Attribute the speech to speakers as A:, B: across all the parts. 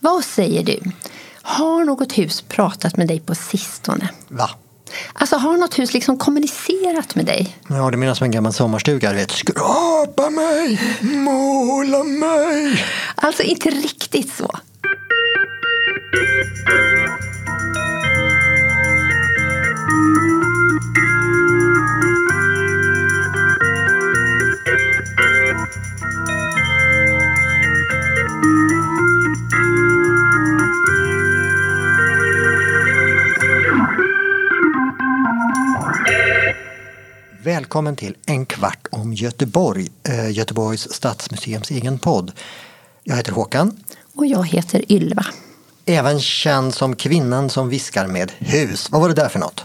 A: Vad säger du? Har något hus pratat med dig på sistone?
B: Va?
A: Alltså har något hus liksom kommunicerat med dig?
B: Ja, du menar som en gammal sommarstuga, du vet. Skrapa mig, måla mig.
A: Alltså inte riktigt så.
B: Välkommen till En kvart om Göteborg, eh, Göteborgs stadsmuseums egen podd. Jag heter Håkan,
A: Och jag heter Ylva.
B: även känd som kvinnan som viskar med hus. Vad var det där för något?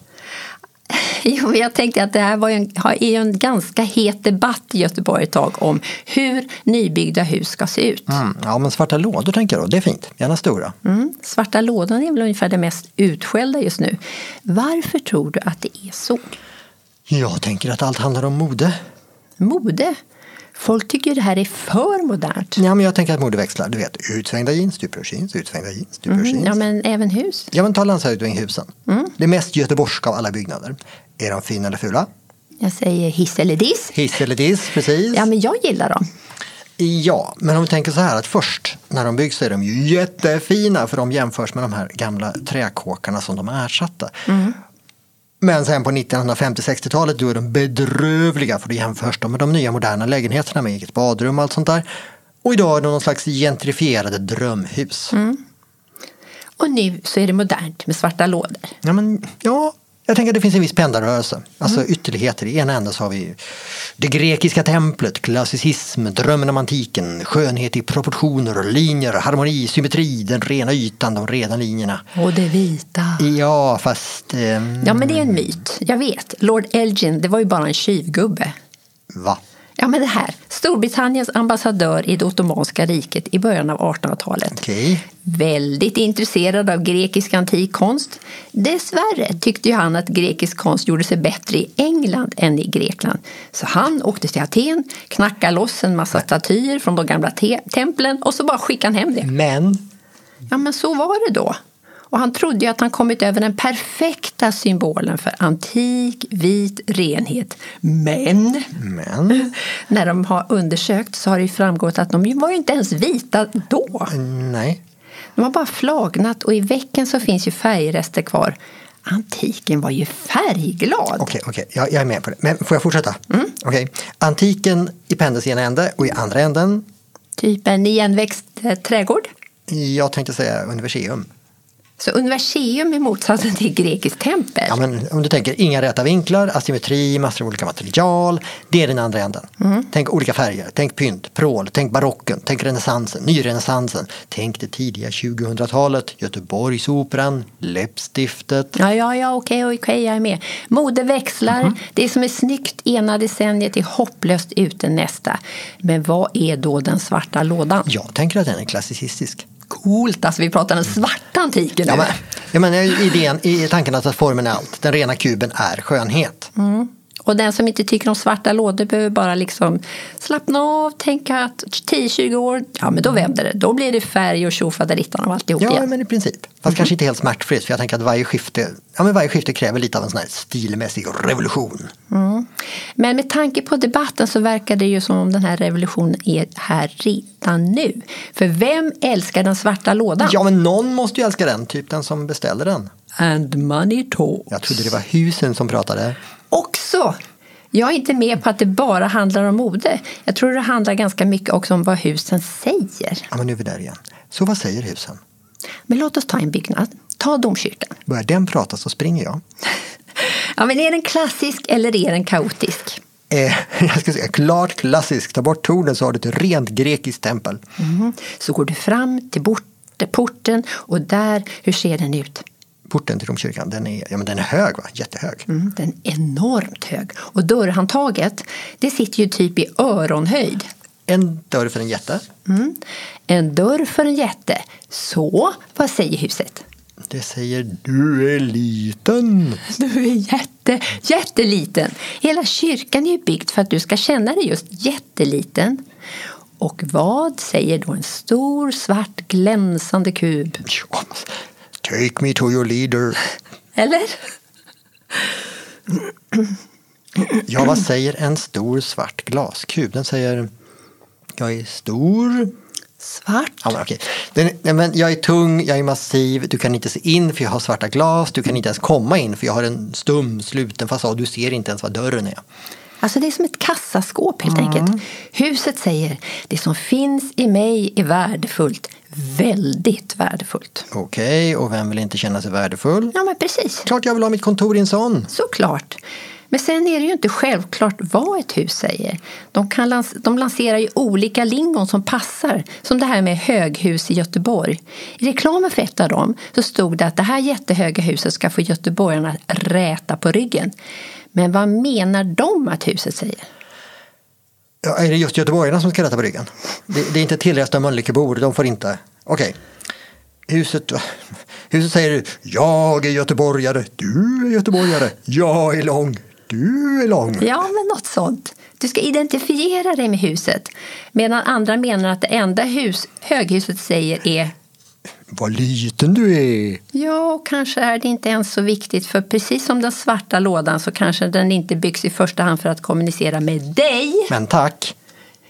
A: Jo, men jag tänkte att det här var ju en, har- är ju en ganska het debatt i Göteborg ett tag om hur nybyggda hus ska se ut.
B: Mm, ja, men svarta lådor tänker jag då. Det är fint. Gärna stora.
A: Mm. Svarta lådan är väl ungefär det mest utskällda just nu. Varför tror du att det är så?
B: Jag tänker att allt handlar om mode.
A: Mode? Folk tycker ju det här är för modernt.
B: Ja, men jag tänker att mode växlar. Du vet, utsvängda jeans, tupörsjeans, utsvängda jeans, tupörsjeans.
A: Mm, ja, men även hus.
B: Ja, men ta landshövdinghusen.
A: Mm.
B: Det mest göteborgska av alla byggnader. Är de fina eller fula?
A: Jag säger hiss eller diss.
B: Hiss eller diss, precis.
A: Ja, men jag gillar dem.
B: Ja, men om vi tänker så här att först när de byggs så är de ju jättefina för de jämförs med de här gamla träkåkarna som de ersatte.
A: Mm.
B: Men sen på 1950-60-talet då är de bedrövliga för då jämförs de med de nya moderna lägenheterna med eget badrum och allt sånt där. Och idag är de någon slags gentrifierade drömhus.
A: Och nu så är det modernt med svarta lådor.
B: Ja, men, ja, jag tänker att det finns en viss pendelrörelse. Alltså ytterligheter. I ena änden så har vi det grekiska templet, klassicism, drömmen om antiken, skönhet i proportioner, linjer, harmoni, symmetri, den rena ytan, de rena linjerna.
A: Och det vita.
B: Ja, fast... ehm,
A: Ja, men det är en myt. Jag vet. Lord Elgin, det var ju bara en tjuvgubbe.
B: Va?
A: Ja, men det här. Storbritanniens ambassadör i det ottomanska riket i början av 1800-talet.
B: Okej.
A: Väldigt intresserad av grekisk antik konst. Dessvärre tyckte ju han att grekisk konst gjorde sig bättre i England än i Grekland. Så han åkte till Aten, knackade loss en massa statyer från de gamla te- templen och så bara skickade han hem det.
B: Men
A: Ja, men så var det då. Och han trodde ju att han kommit över den perfekta symbolen för antik vit renhet. Men
B: Men?
A: när de har undersökt så har det ju framgått att de ju var ju inte ens vita då.
B: Nej.
A: De har bara flagnat och i väcken så finns ju färgrester kvar. Antiken var ju färgglad.
B: Okej, okej. Jag, jag är med på det. Men får jag fortsätta? Mm. Antiken i pendelns ena ände och i andra änden,
A: Typ en igenväxt eh, trädgård.
B: jag tänkte säga universium.
A: Så universium är motsatsen till grekiskt tempel.
B: Ja, men om du tänker inga räta vinklar, asymmetri, massor av olika material. Det är den andra änden. Tänk olika färger, tänk pynt, prål, tänk barocken, tänk renässansen, nyrenässansen. Tänk det tidiga 2000-talet, Göteborgsoperan, läppstiftet.
A: Ja, ja, ja, okej, okej, jag är med. Mode växlar. Det som är snyggt ena decenniet är hopplöst ute nästa. Men vad är då den svarta lådan?
B: Jag tänker att den är klassicistisk.
A: Coolt, alltså vi pratar den svarta antiken nu.
B: Ja, men, jag menar, idén, i tanken att formen är allt, den rena kuben är skönhet.
A: Och den som inte tycker om svarta lådor behöver bara liksom slappna av, tänka att 10-20 år, ja men då vänder det. Då blir det färg och tjofaderittan av alltihop
B: Ja, Mm.
A: igen.
B: men i princip. Fast kanske inte helt smärtfritt, för jag tänker att varje skifte, ja, men varje skifte kräver lite av en sån här stilmässig revolution.
A: Men med tanke på debatten så verkar det ju som om den här revolutionen är här redan nu. För vem älskar den svarta lådan?
B: Ja, men någon måste ju älska den, typ den som beställer den.
A: And money talks.
B: Jag trodde det var husen som pratade.
A: Också! Jag är inte med på att det bara handlar om mode. Jag tror det handlar ganska mycket också om vad husen säger.
B: Ja, men nu är vi där igen. Så vad säger husen?
A: Men låt oss ta en byggnad. Ta domkyrkan.
B: Börjar den prata så springer jag.
A: Ja, men är den klassisk eller är den kaotisk?
B: Eh, jag ska säga klart klassiskt. Ta bort tornen så har du ett rent grekiskt tempel.
A: Mhm. Så går du fram till bort- porten och där, hur ser den ut?
B: Porten till domkyrkan, den är, ja, men den är hög, va? jättehög.
A: Mm, den är enormt hög. Och dörrhandtaget, det sitter ju typ i öronhöjd.
B: En dörr för en jätte.
A: Mm. En dörr för en jätte. Så, vad säger huset?
B: Det säger du är liten.
A: Du är jätte, jätteliten. Hela kyrkan är ju byggd för att du ska känna dig just jätteliten. Och vad säger då en stor svart glänsande kub?
B: Ja. Take me to your leader.
A: Eller?
B: Ja, vad säger en stor svart glaskub? Den säger jag är stor.
A: Svart?
B: Ja, men okej. Den, nej, men jag är tung, jag är massiv, du kan inte se in för jag har svarta glas, du kan inte ens komma in för jag har en stum, sluten fasad, du ser inte ens vad dörren är.
A: Alltså det är som ett kassaskåp helt enkelt. Huset säger det som finns i mig är värdefullt. Väldigt värdefullt.
B: Okej, och vem vill inte känna sig värdefull?
A: Ja men precis,
B: Klart jag vill ha mitt kontor i en sån!
A: såklart. Men sen är det ju inte självklart vad ett hus säger. De, kan lans- de lanserar ju olika lingon som passar. Som det här med höghus i Göteborg. I reklamen för ett av dem så stod det att det här jättehöga huset ska få göteborgarna att räta på ryggen. Men vad menar de att huset säger?
B: Ja, är det just göteborgarna som ska rätta på ryggen? Det, det är inte tillresta Mölnlyckebor, de får inte. Okej. Huset, huset säger jag är göteborgare, du är göteborgare, jag är lång, du är lång.
A: Ja, men något sånt. Du ska identifiera dig med huset. Medan andra menar att det enda hus, höghuset säger är
B: Vad liten du är.
A: Ja, kanske är det inte ens så viktigt för precis som den svarta lådan så kanske den inte byggs i första hand för att kommunicera med dig
B: Men tack.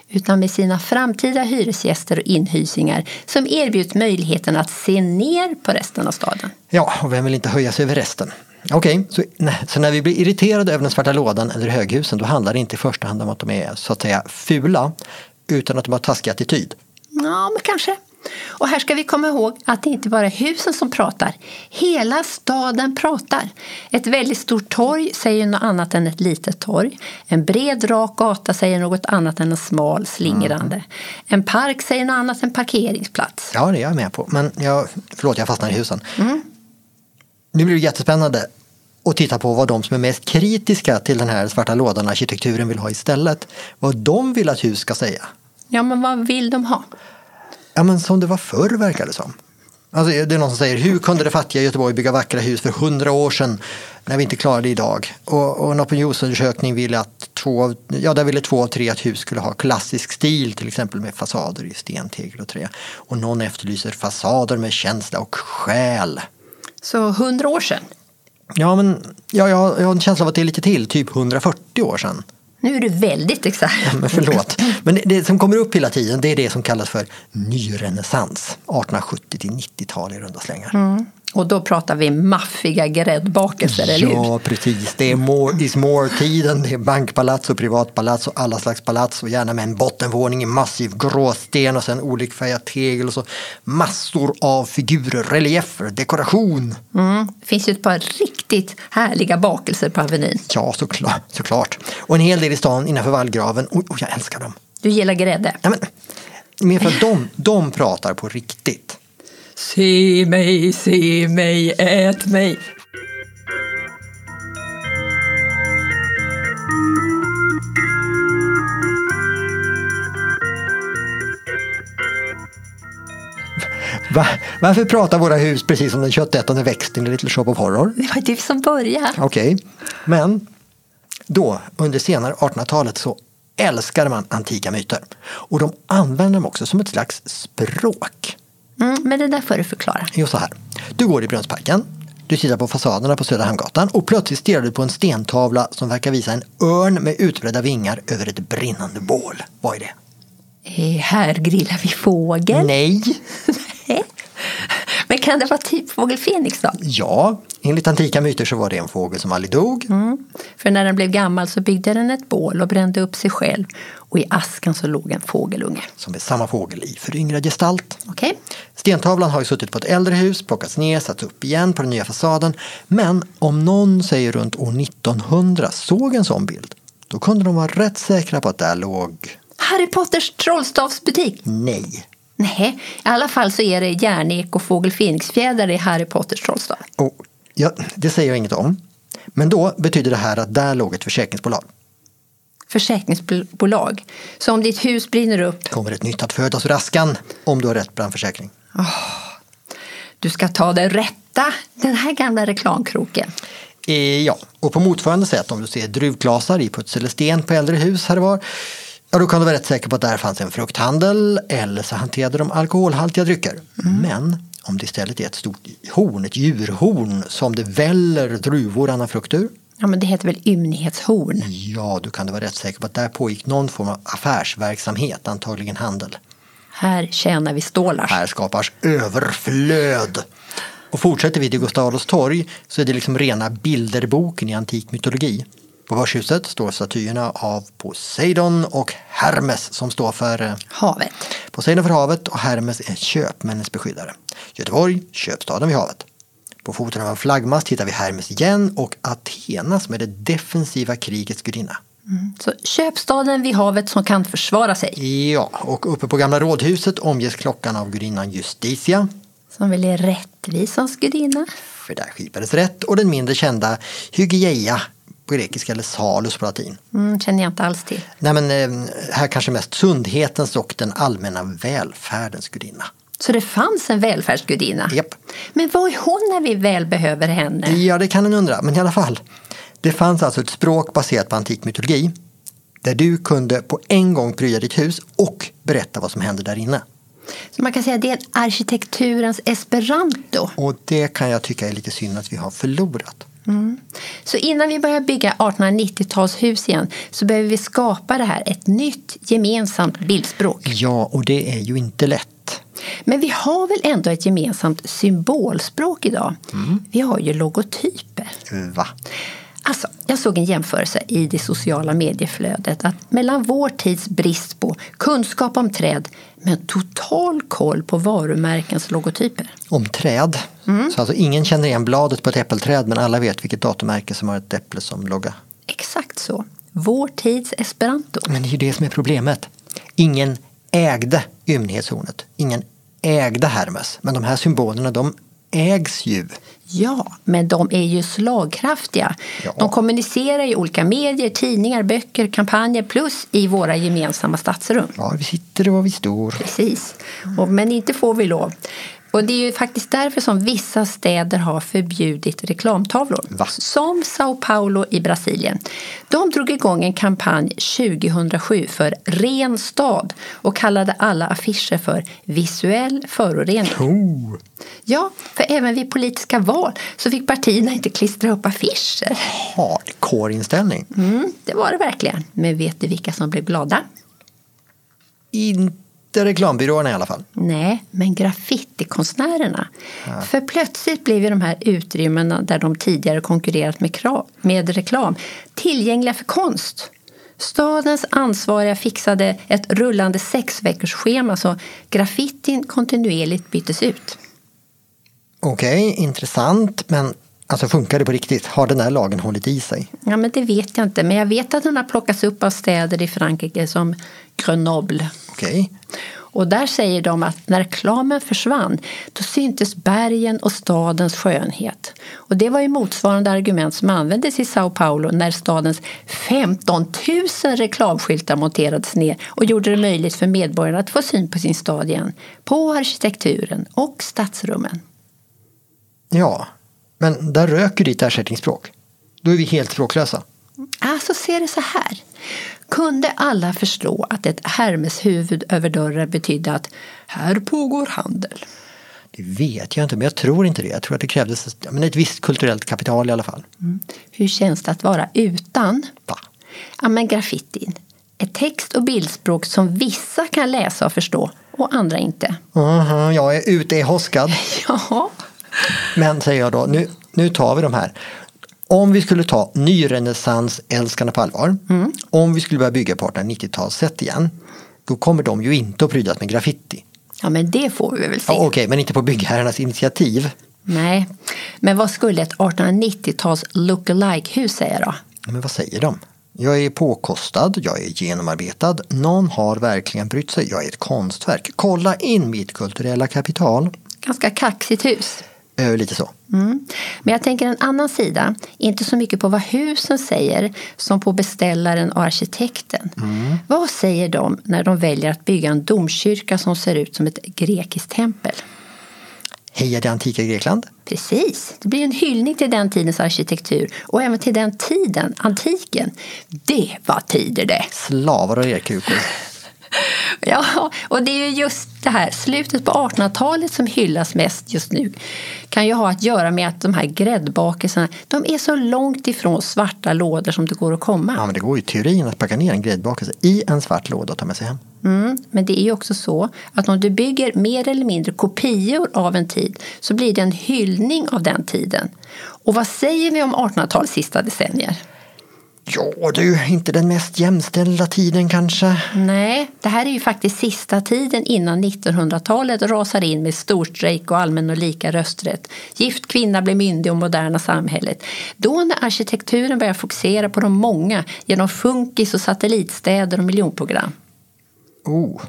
A: utan med sina framtida hyresgäster och inhysingar som erbjuds möjligheten att se ner på resten av staden.
B: Ja, och vem vill inte höja sig över resten? Okej, så, nej, så när vi blir irriterade över den svarta lådan eller höghusen då handlar det inte i första hand om att de är så att säga fula utan att de har taskig attityd.
A: Ja, men kanske. Och här ska vi komma ihåg att det inte bara är husen som pratar. Hela staden pratar. Ett väldigt stort torg säger något annat än ett litet torg. En bred rak gata säger något annat än en smal slingrande.
B: Mm.
A: En park säger något annat än parkeringsplats.
B: Ja, det är jag med på. Men jag, förlåt, jag fastnar i husen. Nu blir det jättespännande att titta på vad de som är mest kritiska till den här svarta lådan arkitekturen vill ha istället. Vad de vill att hus ska säga.
A: Ja, men vad vill de ha?
B: Ja, men som det var förr verkar det som. Alltså, det är någon som säger, hur kunde det fattiga Göteborg bygga vackra hus för hundra år sedan när vi inte klarade det idag? Och, och en opinionsundersökning ville att två av, ja, där ville två av tre att hus skulle ha klassisk stil, till exempel med fasader i sten, tegel och trä. Och någon efterlyser fasader med känsla och själ.
A: Så hundra år sedan.
B: Ja, men ja, jag, jag har en känsla av att det är lite till, typ 140 år sedan.
A: Nu är du väldigt exakt.
B: Men förlåt. Men det, det som kommer upp hela tiden det är det som kallas för nyrenässans. 1870 till 90-tal i runda slängar.
A: Och då pratar vi maffiga gräddbakelser, eller hur?
B: Ja, precis. Det är more is more-tiden. Det är bankpalats och privatpalats och alla slags palats och gärna med en bottenvåning i massiv gråsten och sen olikfärgad tegel och så massor av figurer, reliefer, dekoration.
A: Mm. Det finns ju ett par riktigt härliga bakelser på Avenyn.
B: Ja, såklart, såklart. Och en hel del i stan innanför vallgraven. Och, och jag älskar dem.
A: Du gillar grädde?
B: Nej, men, mer för att de, de pratar på riktigt.
A: Se mig, se mig, ät mig.
B: Va? Varför pratar våra hus precis som den köttätande växten i Little Shop of Horror?
A: Det var du som började.
B: Okej, men då under senare 1800-talet så älskade man antika myter. Och de använde dem också som ett slags språk.
A: Mm, men det där får du förklara.
B: Jo, så här. Du går i Brunnsparken, du tittar på fasaderna på Södra Hamngatan och plötsligt stirrar du på en stentavla som verkar visa en örn med utbredda vingar över ett brinnande bål. Vad är det?
A: Eh, här grillar vi fågel.
B: Nej.
A: Nej. Men kan det vara typ fågel Fenix då?
B: Ja, enligt antika myter så var det en fågel som aldrig dog.
A: Mm. För när den blev gammal så byggde den ett bål och brände upp sig själv. Och i askan så låg en fågelunge.
B: Som är samma fågel i föryngrad gestalt.
A: Okej?
B: Stentavlan har ju suttit på ett äldre hus, plockats ner, satts upp igen på den nya fasaden. Men om någon, säger runt år 1900, såg en sån bild, då kunde de vara rätt säkra på att där låg...
A: Harry Potters trollstavsbutik.
B: Nej.
A: Nej, i alla fall så är det järnek och fågel Fenixfjädrar i Harry Potters trollstav.
B: Och, ja, det säger jag inget om. Men då betyder det här att där låg ett försäkringsbolag.
A: Försäkringsbolag. Så om ditt hus brinner upp,
B: Kommer ett nytt att födas ur askan om du har rätt brandförsäkring.
A: du ska ta det rätta. Den här gamla reklamkroken.
B: Eh, ja, och på motsvarande sätt om du ser druvglasar i puts eller sten på äldre hus här och var. Ja, då kan du vara rätt säker på att där fanns en frukthandel eller så hanterade de alkoholhaltiga drycker. Men om det istället är ett stort horn, ett djurhorn som det väller druvor och annan frukt ur.
A: Ja, men det heter väl ymnighetshorn?
B: Ja, då kan du vara rätt säker på att där pågick någon form av affärsverksamhet, antagligen handel.
A: Här tjänar vi stålar.
B: Här skapas överflöd. Och fortsätter vi till Gustav Adolfs torg så är det liksom rena bilderboken i antik mytologi. På Börshuset står statyerna av Poseidon och Hermes som står för eh,
A: Havet.
B: Poseidon för havet och Hermes är köpmännens beskyddare. Göteborg, köpstaden vid havet. På foten av en flaggmast hittar vi Hermes igen och Athena som är det defensiva krigets gudinna.
A: Mm. Så köpstaden vid havet som kan försvara sig.
B: Ja, och uppe på gamla rådhuset omges klockan av gudinnan Justitia,
A: Som väl är rättvisans gudinna.
B: för där skipades rätt, och den mindre kända Hygieia på grekiska eller Salus på latin.
A: Mm, känner jag inte alls till.
B: Nej, men, eh, här kanske mest sundhetens och den allmänna välfärdens gudinna.
A: Så det fanns en välfärdsgudinna.
B: Japp.
A: Men vad är hon när vi väl behöver henne?
B: Ja, det kan en undra, men i alla fall. Det fanns alltså ett språk baserat på antik mytologi där du kunde på en gång prya ditt hus och berätta vad som hände där inne.
A: Så man kan säga att det är arkitekturens esperanto.
B: Och det kan jag tycka är lite synd att vi har förlorat.
A: Så innan vi börjar bygga 1890-talshus igen så behöver vi skapa det här, ett nytt gemensamt bildspråk.
B: Ja, och det är ju inte lätt.
A: Men vi har väl ändå ett gemensamt symbolspråk idag? Vi har ju logotyper.
B: Va?
A: Alltså, jag såg en jämförelse i det sociala medieflödet att mellan vår tids brist på kunskap om träd men total koll på varumärkens logotyper.
B: Om träd. Så alltså ingen känner igen bladet på ett äppelträd men alla vet vilket datummärke som har ett äpple som logga.
A: Exakt så. Vår tids esperanto.
B: Men det är ju det som är problemet. Ingen ägde ymnighetshornet. Ingen ägde Hermes. Men de här symbolerna, de ägs ju.
A: Ja, men de är ju slagkraftiga.
B: Ja.
A: De kommunicerar i olika medier, tidningar, böcker, kampanjer plus i våra gemensamma stadsrum.
B: Var vi sitter och var vi står.
A: Precis. Och, men inte får vi lov. Och det är ju faktiskt därför som vissa städer har förbjudit reklamtavlor.
B: Va?
A: Som Sao Paulo i Brasilien. De drog igång en kampanj 2007 för Ren stad och kallade alla affischer för visuell förorening.
B: Oh.
A: Ja, för även vid politiska val så fick partierna inte klistra upp affischer.
B: Hardcore inställning.
A: Mm, det var det verkligen. Men vet du vilka som blev glada?
B: Inte reklambyråerna i alla fall.
A: Nej, men graffitikonstnärerna. För plötsligt blev ju de här utrymmena där de tidigare konkurrerat med, krav, med reklam tillgängliga för konst. Stadens ansvariga fixade ett rullande sexveckorsschema så graffitin kontinuerligt byttes ut.
B: Okej, intressant. Men alltså funkar det på riktigt? Har den här lagen hållit i sig?
A: Ja, men det vet jag inte, men jag vet att den har plockats upp av städer i Frankrike som Grenoble.
B: Okej.
A: Och där säger de att när reklamen försvann då syntes bergen och stadens skönhet. Och det var ju motsvarande argument som användes i Sao Paulo när stadens 15 000 reklamskyltar monterades ner och gjorde det möjligt för medborgarna att få syn på sin stad igen. På arkitekturen och stadsrummen.
B: Ja, men där röker ditt ersättningsspråk. Då är vi helt språklösa.
A: Alltså ser det så här. Kunde alla förstå att ett Hermeshuvud över dörren betydde att här pågår handel?
B: Det vet jag inte, men jag tror inte det. Jag tror att det krävdes ja, men ett visst kulturellt kapital i alla fall.
A: Hur känns det att vara utan?
B: Va?
A: Ja, men graffitin. Ett text och bildspråk som vissa kan läsa och förstå och andra inte.
B: Aha, jag är ute i hoskad.
A: Ja,
B: Men säger jag då, nu, nu tar vi de här. Om vi skulle ta nyrenässansälskarna på allvar, om vi skulle börja bygga på 1890-talssätt igen, då kommer de ju inte att prydas med graffiti.
A: ja men det får vi väl se.
B: Ja, Okej, men inte på byggherrarnas initiativ.
A: Nej, men vad skulle ett 1890-tals look-alike-hus säga då?
B: Men vad säger de? Jag är påkostad, jag är genomarbetad, någon har verkligen brytt sig, jag är ett konstverk. Kolla in mitt kulturella kapital.
A: Ganska kaxigt hus.
B: Eh, lite så.
A: Mm. Men jag tänker en annan sida, inte så mycket på vad husen säger som på beställaren och arkitekten.
B: Mm.
A: Vad säger de när de väljer att bygga en domkyrka som ser ut som ett grekiskt tempel?
B: Heja det antika Grekland!
A: Precis, det blir en hyllning till den tidens arkitektur och även till den tiden, antiken. Det var tider det!
B: Slavar och erkukor.
A: Ja, och det är ju just det här slutet på 1800-talet som hyllas mest just nu. kan ju ha att göra med att de här gräddbakelserna de är så långt ifrån svarta lådor som det går att komma.
B: Ja, men det går ju i teorin att packa ner en gräddbakelse i en svart låda och ta med sig hem.
A: Mm, men det är ju också så att om du bygger mer eller mindre kopior av en tid så blir det en hyllning av den tiden. Och vad säger vi om 1800-talets sista decennier?
B: Ja du, inte den mest jämställda tiden kanske.
A: Nej, det här är ju faktiskt sista tiden innan 1900-talet rasar in med storstrejk och allmän och lika rösträtt. Gift kvinna blir myndig och moderna samhället. Då när arkitekturen börjar fokusera på de många genom funkis och satellitstäder och miljonprogram.
B: Oh.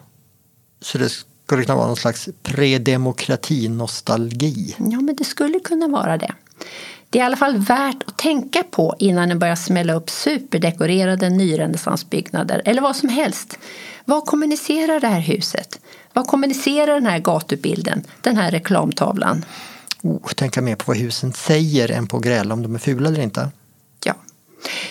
B: Så det skulle kunna vara någon slags predemokratinostalgi.
A: Ja, men det skulle kunna vara det. Det är i alla fall värt att tänka på innan ni börjar smälla upp superdekorerade nyrenässansbyggnader eller vad som helst. Vad kommunicerar det här huset? Vad kommunicerar den här gatubilden, den här reklamtavlan?
B: Oh, tänka mer på vad husen säger än på att gräla om de är fula eller inte.
A: Ja.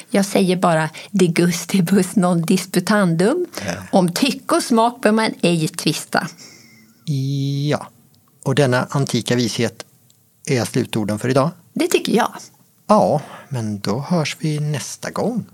A: Jag säger bara de gustibus non disputandum. Om tycke och smak bör man ej tvista.
B: Ja, och denna antika vishet är slutorden för idag.
A: Det tycker jag.
B: Ja, men då hörs vi nästa gång.